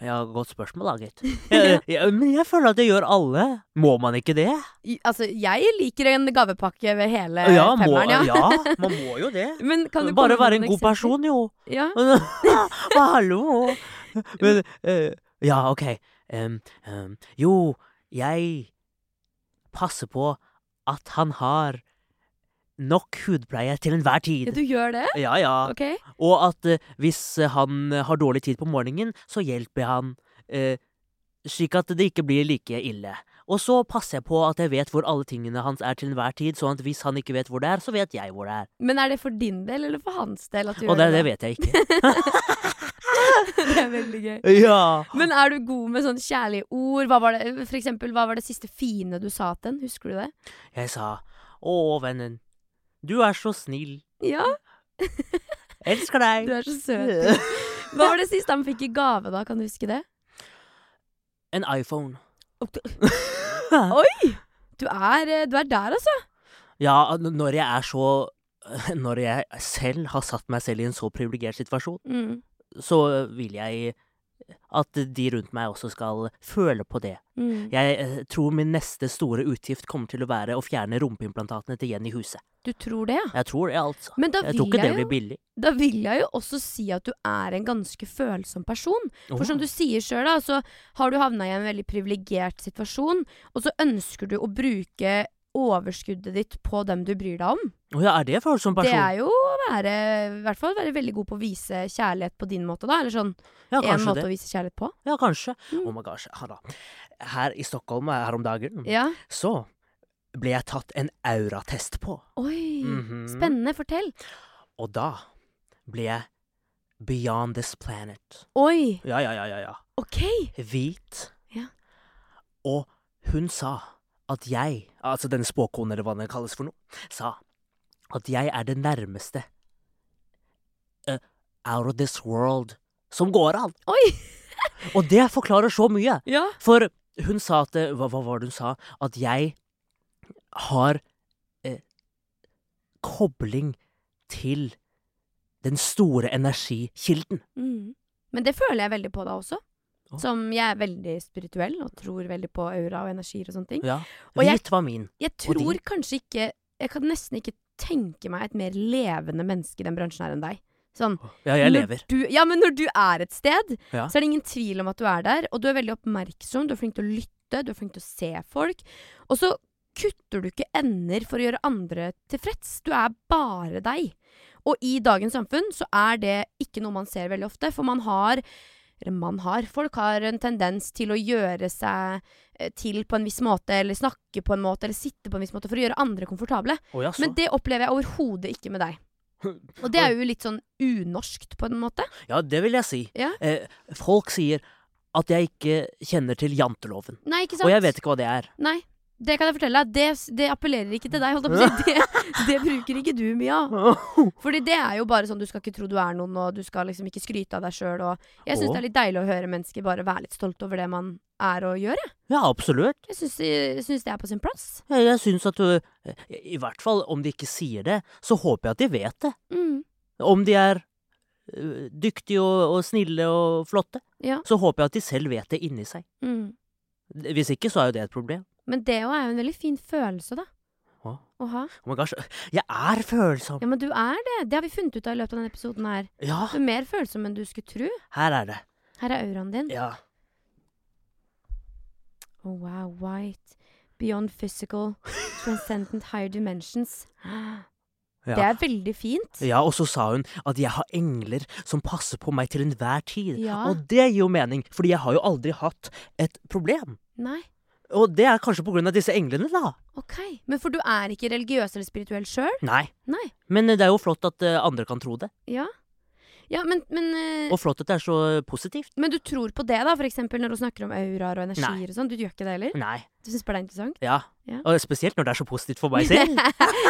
Ja, godt spørsmål da, gitt. Jeg- jeg- Men jeg føler at jeg gjør alle. Må man ikke det? I, altså, jeg liker en gavepakke ved hele Ja, må, Eh, femmeren, ja. ja, man må jo det. Men kan du komme Bare med være en noen god eksempler? person, jo. Ja. Hallo. Men eh, Ja, OK. Em, em, jo, jeg passer på at han har nok hudpleie til enhver ja, tid. du gjør det? Ja, ja. OK. Og at eh, hvis eh, han eh, har dårlig tid på morgenen, så hjelper jeg han eh, slik at det ikke blir like ille. Og så passer jeg på at jeg vet hvor alle tingene hans er til enhver tid, sånn at hvis han ikke vet hvor det er, så vet jeg hvor det er. Men er det for din del eller for hans del? At du Og gjør det, det vet jeg ikke. det er veldig gøy. Ja. Men er du god med sånn kjærlige ord? Hva var det, for eksempel, hva var det siste fine du sa til den? Husker du det? Jeg sa Å, vennen. Du er så snill. Ja, du Elsker deg. er så søt. Hva var det siste han fikk i gave, da? Kan du huske det? En iPhone. Du er, eh, du er der, altså. Ja, n- når jeg er så Når jeg selv har satt meg selv i en så privilegert situasjon, Mm. så vil jeg at de rundt meg også skal føle på det. Mm. Jeg eh, tror min neste store utgift kommer til å være å fjerne rumpeimplantatene til Jenny Huse. Du tror det, ja. Jeg tror det, altså. Men da Jeg vil tror ikke det jeg, blir jo, billig. da vil jeg jo også si at du er en ganske følsom person. For Oh. som du sier sjøl, da, så har du havna i en veldig privilegert situasjon, og så ønsker du å bruke overskuddet ditt på dem du bryr deg om. Å ja, er det følsom Det person? er jo å være i hvert fall være veldig god på å vise kjærlighet på din måte, da. Eller sånn ja, en kanskje måte det. å vise kjærlighet på. Ja, kanskje. Mm. Oh my gosh. ha da. Her i Stockholm eh, her om dagen, Ja. så ble jeg tatt en auratest på. Oi. Mhm. Mm. Spennende. Fortell. Og da ble jeg beyond this planet. Oi. Ja, ja, ja, ja. ja. OK. Hvit. Ja. Og hun sa at jeg, altså denne spåkonen eller hva den kalles for noe, sa at jeg er det nærmeste eh, out of this world som går an. Oi. Og det forklarer så mye. Ja. For hun sa at eh, Hva, hva var det hun sa? At jeg har eh, kobling til den store energikilden. Mm. Men det føler jeg veldig på da også. Å. Som jeg er veldig spirituell og tror veldig på aura og energier og sånne ting. Ja. Og jeg- Hvit var min. Jeg Og de- tror kanskje ikke Jeg kan nesten ikke tenke meg et mer levende menneske i den bransjen her enn deg. Sånn. Ja, jeg når lever. Du, ja, men når du er et sted, Ja. så er det ingen tvil om at du er der. Og du er veldig oppmerksom, du er flink til å lytte, du er flink til å se folk. Og så kutter du ikke ender for å gjøre andre tilfreds. Du er bare deg. Og i dagens samfunn så er det ikke noe man ser veldig ofte, for man har eller man har. Folk har en tendens til å gjøre seg eh, til på en viss måte, eller snakke på en måte, eller sitte på en viss måte, for å gjøre andre komfortable. Å ja, så. Men det opplever jeg overhodet ikke med deg. Og det er jo litt sånn unorskt, på en måte. Ja, det vil jeg si. Ja. Eh, folk sier at jeg ikke kjenner til janteloven. Nei, ikke sant? Og jeg vet ikke hva det er. Nei, det kan jeg fortelle deg. Det, det appellerer ikke til deg. Holdt jeg på å si. Det, det bruker ikke du mye av. Fordi det er jo bare sånn du skal ikke tro du er noen, og du skal liksom ikke skryte av deg sjøl. Jeg syns Å. det er litt deilig å høre mennesker bare være litt stolte over det man er og gjør. Jeg, Ja, absolutt. jeg syns- jeg syns det er på sin plass. Jeg, jeg syns at du I hvert fall om de ikke sier det, så håper jeg at de vet det. Mm. Om de er eh, dyktige og, og snille og flotte, Ja. så håper jeg at de selv vet det inni seg. Mm. Hvis ikke, så er jo det et problem. Men det òg er jo en veldig fin følelse, da. Å. Å ha. Oh my gosh, jeg er følsom! Ja, men du er det. Det har vi funnet ut av i løpet av denne episoden her. Ja, Du er mer følsom enn du skulle tro. her er det. Her er auraen din. Ja. Oh, wow, white. Beyond physical. Transcendent higher dimensions. Ja. Det er veldig fint. Ja, og så sa hun at jeg har engler som passer på meg til enhver tid. Ja. Og det gir jo mening, fordi jeg har jo aldri hatt et problem. Nei, Og det er kanskje på grunn av disse englene, da. ok. Men for du er ikke religiøs eller spirituell sjøl? Nei. Nei. Men eh, det er jo flott at eh, andre kan tro det. Ja. Ja, men, men, eh, Og flott at det er så eh, positivt. men du tror på det, da? For eksempel når hun snakker om auraer og energier og sånn. Du gjør ikke det heller? Nei. Du syns bare det er interessant? Ja. Ja. Og spesielt når det er så positivt for meg selv.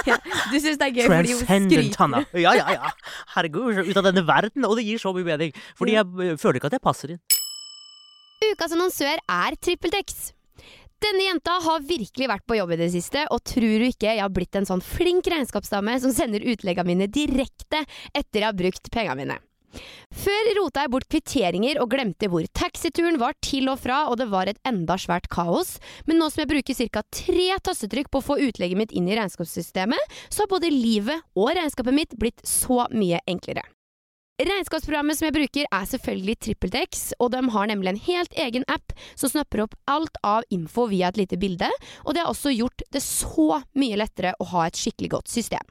ja, du syns det er gøy fordi hun Transcendent, skryter? Hanna. Ja, ja, ja. Herregud, så ut av denne verden. Og det gir så mye mening. Fordi Ja. jeg eh, føler ikke at jeg passer inn. Ukas annonsør er TrippelTex. Denne jenta har virkelig vært på jobb i det siste, og tror du ikke jeg har blitt en sånn flink regnskapsdame som sender utleggene mine direkte etter jeg har brukt pengene mine. Før rota jeg bort kvitteringer og glemte hvor taxituren var til og fra, og det var et enda svært kaos, men nå som jeg bruker ca. tre tastetrykk på å få utlegget mitt inn i regnskapssystemet, så har både livet og regnskapet mitt blitt så mye enklere. Regnskapsprogrammet som jeg bruker er selvfølgelig TrippelTex, og de har nemlig en helt egen app som snapper opp alt av info via et lite bilde, og det har også gjort det så mye lettere å ha et skikkelig godt system.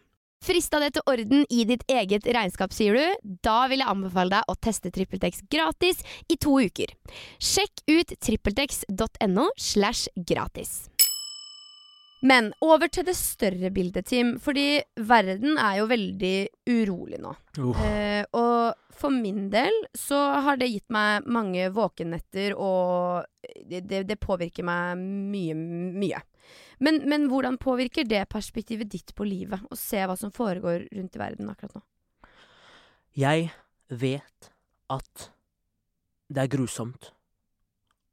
Frista det til orden i ditt eget regnskap, sier du? Da vil jeg anbefale deg å teste TrippelTex gratis i to uker. Sjekk ut trippeltex.no slash gratis. Men over til det større bildet, Tim. Fordi verden er jo veldig urolig nå. Uff. Eh, og for min del så har det gitt meg mange våkenetter, og det, det, det påvirker meg mye, mye. Men, men hvordan påvirker det perspektivet ditt på livet, å se hva som foregår rundt i verden akkurat nå? Jeg vet at det er grusomt.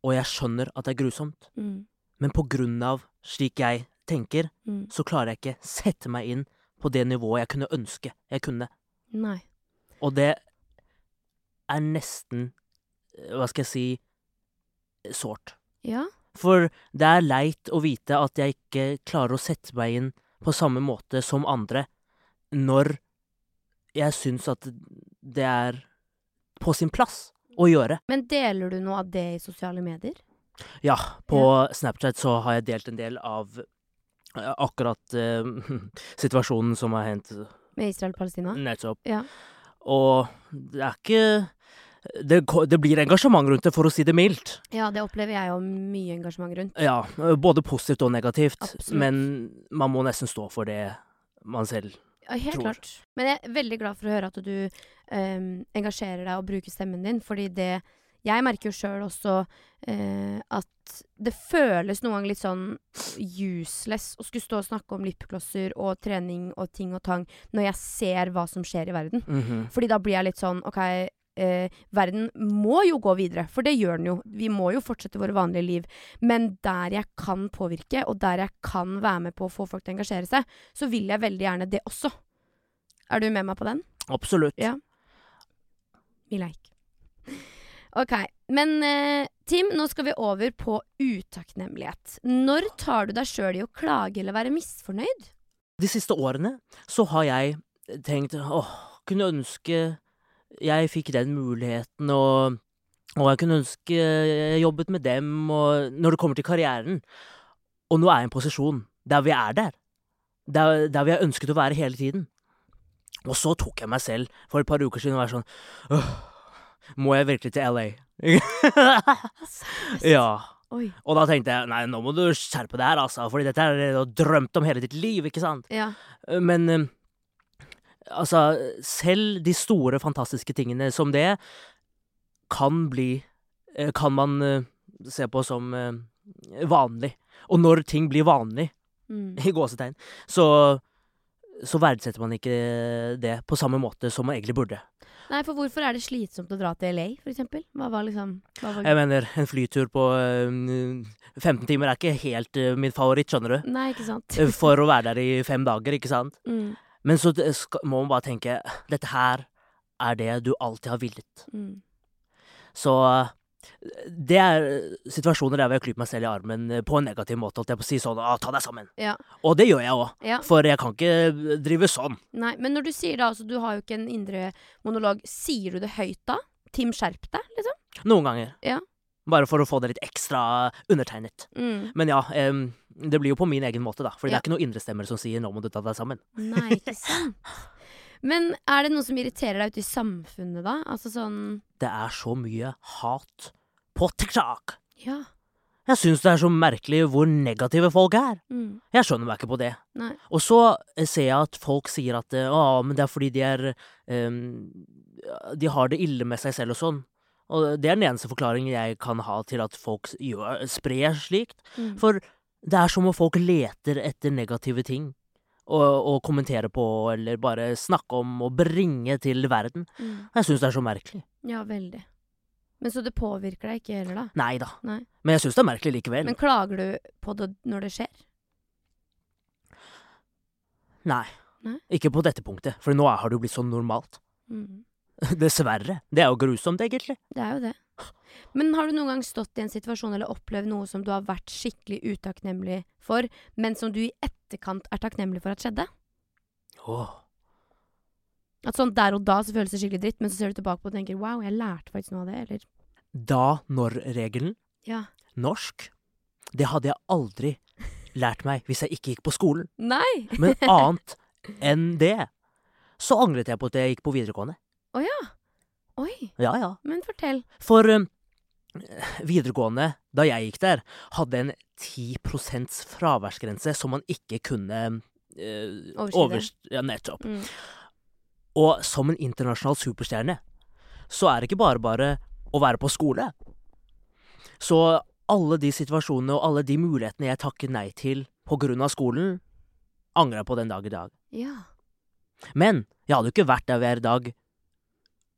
Og jeg skjønner at det er grusomt. Mm, Men på grunn av slik jeg tenker, mm. så klarer jeg ikke sette meg inn på det nivået jeg kunne ønske jeg kunne. Nei. Og det er nesten eh, Hva skal jeg si eh, sårt. Ja? For det er leit å vite at jeg ikke klarer å sette meg inn på samme måte som andre når jeg syns at det er på sin plass å gjøre. Men deler du noe av det i sosiale medier? Ja, på Snapchat så har jeg delt en del av eh, akkurat eh, situasjonen som har hendt Med Israel og Palestina? nettopp. Ja. Og det er ikke det, ko- det blir engasjement rundt det, for å si det mildt. Ja, det opplever jeg jo mye engasjement rundt. Ja, både positivt og negativt. Absolutt. Men man må nesten stå for det man selv Ja, Helt Tror. klart. Men jeg er veldig glad for å høre at du ehm, engasjerer deg og bruker stemmen din, fordi det Jeg merker jo sjøl også eh, at det føles noen ganger litt sånn useless å skulle stå og snakke om lippeklosser og trening og ting og tang når jeg ser hva som skjer i verden. Mhm. Fordi da blir jeg litt sånn OK, eh, verden må jo gå videre, for det gjør den jo. Vi må jo fortsette våre vanlige liv. Men der jeg kan påvirke, og der jeg kan være med på å få folk til å engasjere seg, så vil jeg veldig gjerne det også. Er du med meg på den? Absolutt. Ja. Vi leik. OK. Men eh, Tim, nå skal vi over på utakknemlighet. Når tar du deg sjøl i å klage eller være misfornøyd? De siste årene så har jeg tenkt åh, kunne ønske jeg fikk den muligheten, og, og jeg kunne ønske jeg jobbet med dem, og når det kommer til karrieren. Og nå er jeg i en posisjon der vi er der. Der, der vi har ønsket å være hele tiden. Og så tok jeg meg selv for et par uker siden og var sånn åh, Må jeg virkelig til LA? ja. Oi. Og da tenkte jeg nei, nå må du skjerpe deg her, altså, fordi dette er det du har drømt om hele ditt liv, ikke sant? Ja. Men eh, altså, selv de store, fantastiske tingene som det kan bli eh, Kan man eh, se på som eh, vanlig. Og når ting blir vanlig, Mm. i gåsetegn, så, så verdsetter man ikke det på samme måte som man egentlig burde. Nei, for hvorfor er det slitsomt å dra til LA, for eksempel? Hva var liksom hva var... Jeg mener, en flytur på eh, 15 timer er ikke helt eh, min favoritt, skjønner du. Nei, ikke sant? Eh, For å være der i fem dager, ikke sant? Mm, Men så eh, skal, må man bare tenke Dette her er det du alltid har villet. mm. Så eh, det er eh, situasjoner der hvor jeg klyper meg selv i armen eh, på en negativ måte. Holdt jeg på å si sånn «Å, Ta deg sammen. Ja. Og det gjør jeg òg. Ja. For jeg kan ikke drive sånn. Nei, men når du sier det, altså, du har jo ikke en indre monolog, sier du det høyt da? Tim, skjerp deg, liksom? Noen ganger. Ja. Bare for å få det litt ekstra undertegnet. Mm. Men ja, em, det blir jo på min egen måte, da. For det Ja. er ikke noen indre stemmer som sier 'nå må du ta deg sammen'. Nei, ikke sant? Men er det noe som irriterer deg ute i samfunnet, da? Altså sånn Det er så mye hat på TikTok. Ja. Jeg syns det er så merkelig hvor negative folk er. Mm. Jeg skjønner meg ikke på det. Nei. Og så eh, ser jeg at folk sier at eh, «Å, men det er fordi de er ehm, De har det ille med seg selv og sånn. Og det er den eneste forklaringen jeg kan ha til at folk s- gjør, sprer slikt. Mm. For det er som om folk leter etter negative ting å, å kommentere på eller bare snakke om og bringe til verden. Mm. Jeg syns det er så merkelig. Ja, veldig. Men så det påvirker deg ikke heller, da? Nei da. Nei. Men jeg syns det er merkelig likevel. Men klager du på det når det skjer? Nei. Nei. Ikke på dette punktet, for nå har det jo blitt sånn normalt. Mm. Dessverre. Det er jo grusomt, egentlig. Det er jo det. Men har du noen gang stått i en situasjon eller opplevd noe som du har vært skikkelig utakknemlig for, men som du i etterkant er takknemlig for at skjedde? Åh. At sånn der og da så føles det skikkelig dritt, men så ser du tilbake på det og tenker wow, jeg lærte faktisk noe av det, eller da-når-regelen, ja. norsk, det hadde jeg aldri lært meg hvis jeg ikke gikk på skolen. Nei! Men annet enn det, så angret jeg på at jeg gikk på videregående. Å ja. Oi. Ja, ja. Men fortell. For um, videregående, da jeg gikk der, hadde en 10 fraværsgrense som man ikke kunne eh, Overskride. overst- Ja, nettopp. Mm. Og som en internasjonal superstjerne, så er det ikke bare bare å være på skole. Så alle de situasjonene og alle de mulighetene jeg takker nei til på grunn av skolen, angrer jeg på den dag i dag. Ja. Men jeg hadde jo ikke vært der vi er i dag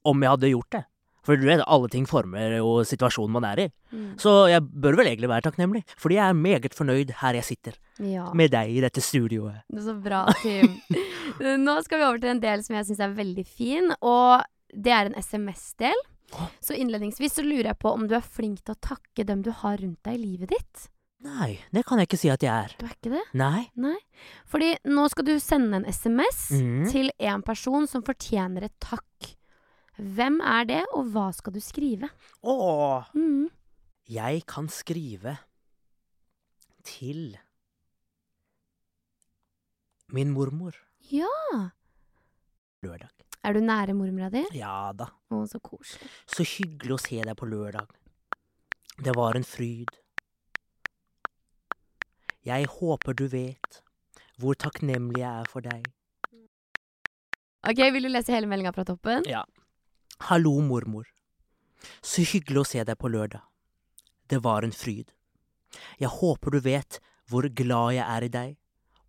om jeg hadde gjort det. For du vet, alle ting former jo situasjonen man er i. Mm. Så jeg bør vel egentlig være takknemlig, fordi jeg er meget fornøyd her jeg sitter, ja. med deg i dette studioet. Det er så bra, Tim. Nå skal vi over til en del som jeg syns er veldig fin, og det er en SMS-del. Så innledningsvis så lurer jeg på om du er flink til å takke dem du har rundt deg i livet ditt. Nei, det kan jeg ikke si at jeg er. Du er ikke det? Nei. Nei. Fordi nå skal du sende en SMS Mhm. til en person som fortjener et takk. Hvem er det, og hva skal du skrive? Åh. Mhm. Jeg kan skrive til min mormor Ja! lørdag. Er du nære mormora di? Ja da. Å, så koselig. Så hyggelig å se deg på lørdag. Det var en fryd. Jeg håper du vet hvor takknemlig jeg er for deg. Ok, Vil du lese hele meldinga fra toppen? Hallo, mormor. Så hyggelig å se deg på lørdag. Det var en fryd. Jeg håper du vet hvor glad jeg er i deg,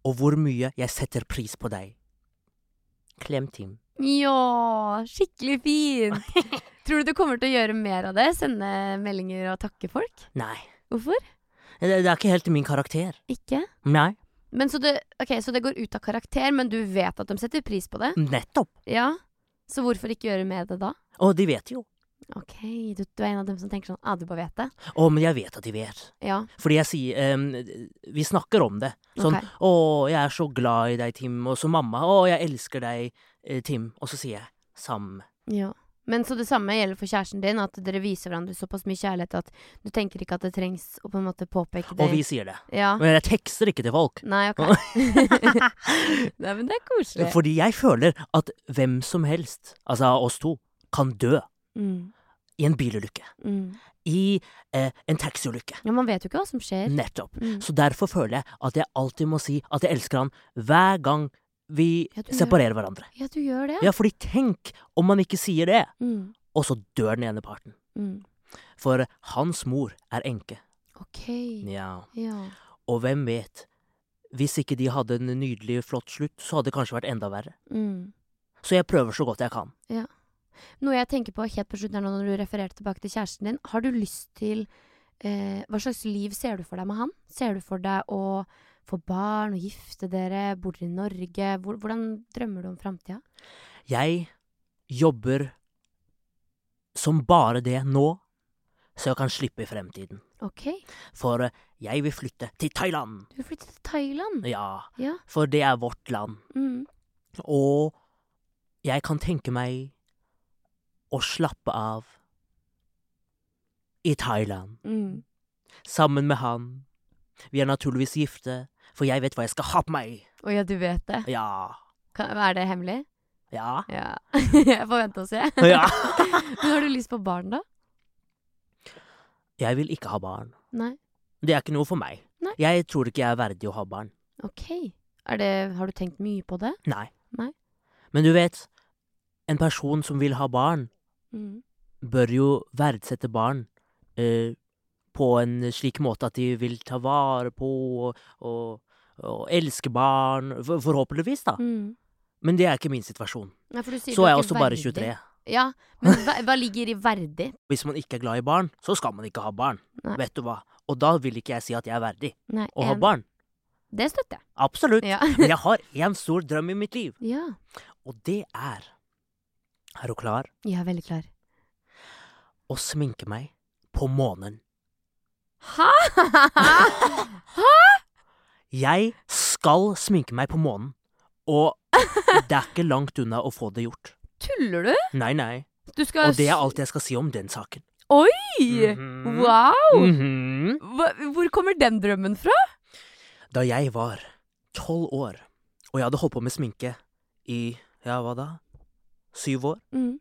og hvor mye jeg setter pris på deg. Klem Tim. Ja, skikkelig fint! Tror du du kommer til å gjøre mer av det? Sende meldinger og takke folk? Nei, Hvorfor? det, det er ikke helt min karakter. Ikke? Nei, Men så det, ok, så det går ut av karakter, men du vet at de setter pris på det? nettopp. Ja. Så hvorfor ikke gjøre mer av det da? Og de vet jo. Ok, du, du er en av dem som tenker sånn Ah, du bare vet det. Å, men jeg vet at de vet. Ja. Fordi jeg sier em, Vi snakker om det. Sånn Ok. 'Å, jeg er så glad i deg, Tim', og så mamma 'Å, jeg elsker deg, eh, Tim', og så sier jeg 'Sam'. ja. Men så det samme gjelder for kjæresten din, at dere viser hverandre såpass mye kjærlighet at du tenker ikke at det trengs å på en måte påpeke det. Og vi sier det. Ja. Men jeg tekster ikke til folk. Nei, ok. Nei, men det er koselig. Fordi jeg føler at hvem som helst, altså av oss to, kan dø Mm, i en bilulykke. mm. I eh, en taxiulykke. Ja, man vet jo ikke hva som skjer. Nettopp. Mm. Så derfor føler jeg at jeg alltid må si at jeg elsker han hver gang vi Ja, du gjør- separerer hverandre. Ja, du gjør det. Ja, fordi tenk om man ikke sier det, Mm, og så dør den ene parten. mm. For hans mor er enke. Ok. Ja. Ja. Og hvem vet, hvis ikke de hadde en nydelig, flott slutt, så hadde det kanskje vært enda verre. Mm. Så jeg prøver så godt jeg kan. Noe jeg tenker på helt på slutten her nå når du refererte tilbake til kjæresten din, har du lyst til eh, Hva slags liv ser du for deg med han? Ser du for deg å få barn og gifte dere, bor dere i Norge? Hvor, hvordan drømmer du om framtida? Jeg jobber som bare det nå, så jeg kan slippe i fremtiden. Ok, For eh, jeg vil flytte til Thailand! du vil flytte til Thailand. Ja, Ja. for det er vårt land. Mm. Og jeg kan tenke meg å slappe av i Thailand Mm. sammen med han. Vi er naturligvis gifte, for jeg vet hva jeg skal ha på meg. Å ja, du vet det. Ja. Kan, er det hemmelig? Ja. Ja. jeg får vente og se. ja. Men har du lyst på barn, da? Jeg vil ikke ha barn. Nei. Det er ikke noe for meg. Nei. Jeg tror ikke jeg er verdig å ha barn. Ok. Er det, har du tenkt mye på det? Nei. Nei. Men du vet, en person som vil ha barn, Mm. bør jo verdsette barn eh, på en slik måte at de vil ta vare på og, og, og elske barn, for, forhåpentligvis, da. Mm. Men det er ikke min situasjon. Nei, for du sier Så du er jeg ikke også bare verdig. 23. Ja, men hva, hva ligger i verdig? Hvis man ikke er glad i barn, så skal man ikke ha barn. Nei. Vet du hva. Og da vil ikke jeg si at jeg er verdig Nei, å ha en- barn. Det støtter jeg. Absolutt. Ja. Men jeg har én stor drøm i mitt liv, ja. og det er Er du klar? Jeg er veldig klar. Å sminke meg på månen. Hæ?! Jeg skal sminke meg på månen, og det er ikke langt unna å få det gjort. Tuller du? Nei, nei. Du skal Og det er alt jeg skal si om den saken. sy! Mhm. Wow! Mhm. Hva, hvor kommer den drømmen fra? Da jeg var tolv år Og jeg hadde holdt på med sminke i ja, hva da? Syv år. Mm.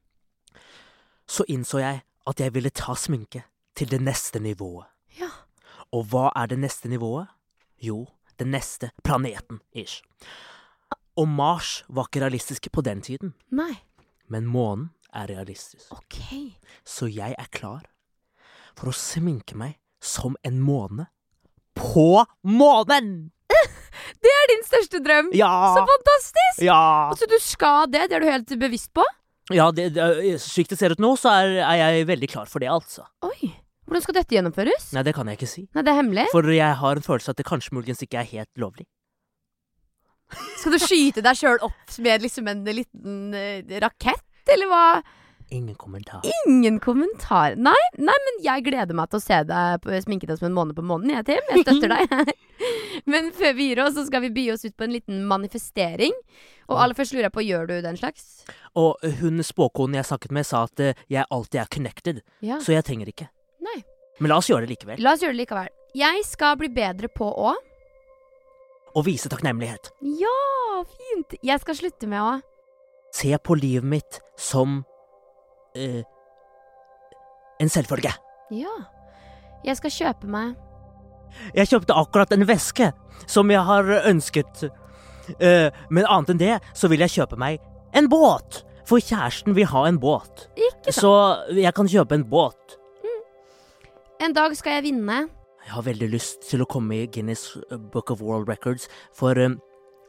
Så innså jeg at jeg ville ta sminke til det neste nivået. Ja. Og hva er det neste nivået? Jo, den neste planeten, ish. Og Mars var ikke realistisk på den tiden, Nei. men månen er realistisk. Ok. Så jeg er klar for å sminke meg som en måne på månen! Det er din største drøm! Så Ja! fantastisk! Ja! Altså, du skal det? Det er du helt bevisst på? ja det, det, slik det ser ut nå, så er, er jeg veldig klar for det, altså. Oi. Hvordan skal dette gjennomføres? Nei, det kan jeg ikke si. Nei, det er hemmelig. For jeg har en følelse at det kanskje muligens ikke er helt lovlig. Skal du skyte deg sjøl opp med liksom en liten eh, rakett, eller hva? Ingen kommentar. Ingen kommentar. Nei, nei, men jeg gleder meg til å se deg på- sminke deg som en måne på månen, jeg, Tim. Jeg støtter deg. men før vi gir oss, så skal vi by oss ut på en liten manifestering. Og aller først lurer jeg på, gjør du den slags? Og eh, hun spåkonen jeg snakket med, sa at eh, jeg alltid er connected, Ja. så jeg trenger ikke. Nei. Men la oss gjøre det likevel. La oss gjøre det likevel. Jeg skal bli bedre på å Og vise takknemlighet. Ja, fint! Jeg skal slutte med å Se på livet mitt som eh, en selvfølge. Ja. Jeg skal kjøpe meg Jeg kjøpte akkurat en veske som jeg har ønsket. Eh, men annet enn det så vil jeg kjøpe meg en båt. For kjæresten vil ha en båt. Ikke sant. Så jeg kan kjøpe en båt. En dag skal jeg vinne. Jeg har veldig lyst til å komme i Guinness Book of World Records for eh,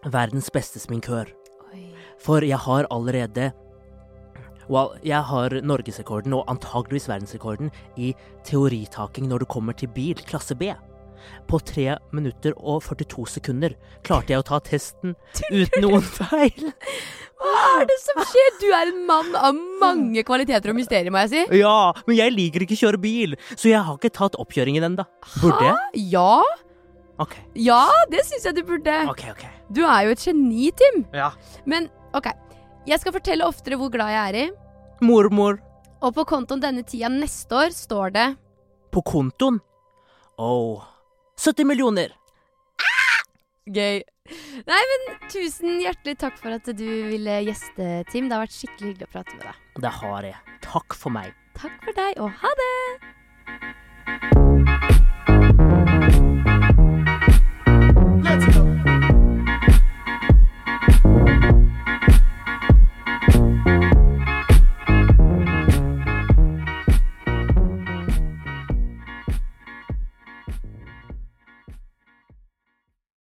verdens beste sminkør. Oi. For jeg har allerede Well, jeg har norgesrekorden og antageligvis verdensrekorden i teoritaking når det kommer til bil, klasse B. På 3 minutter og 42 sekunder klarte jeg å ta testen uten noen feil. Hva er det som skjer? Du er en mann av mange kvaliteter og mysterier, må jeg si. Ja, men jeg liker ikke å kjøre bil, så jeg har ikke tatt oppkjøringen ennå. Burde jeg? Ja. OK. Ja, det syns jeg du burde. ok, ok. Du er jo et geni, Tim. Ja. Men OK. Jeg skal fortelle oftere hvor glad jeg er i. Mormor Og på kontoen denne tida neste år står det på kontoen. Oh. 70 millioner. Gøy. Nei, men tusen hjertelig takk for at du ville gjeste, Tim. Det har vært skikkelig hyggelig å prate med deg. Det har jeg. Takk for meg. Takk for deg, og ha det!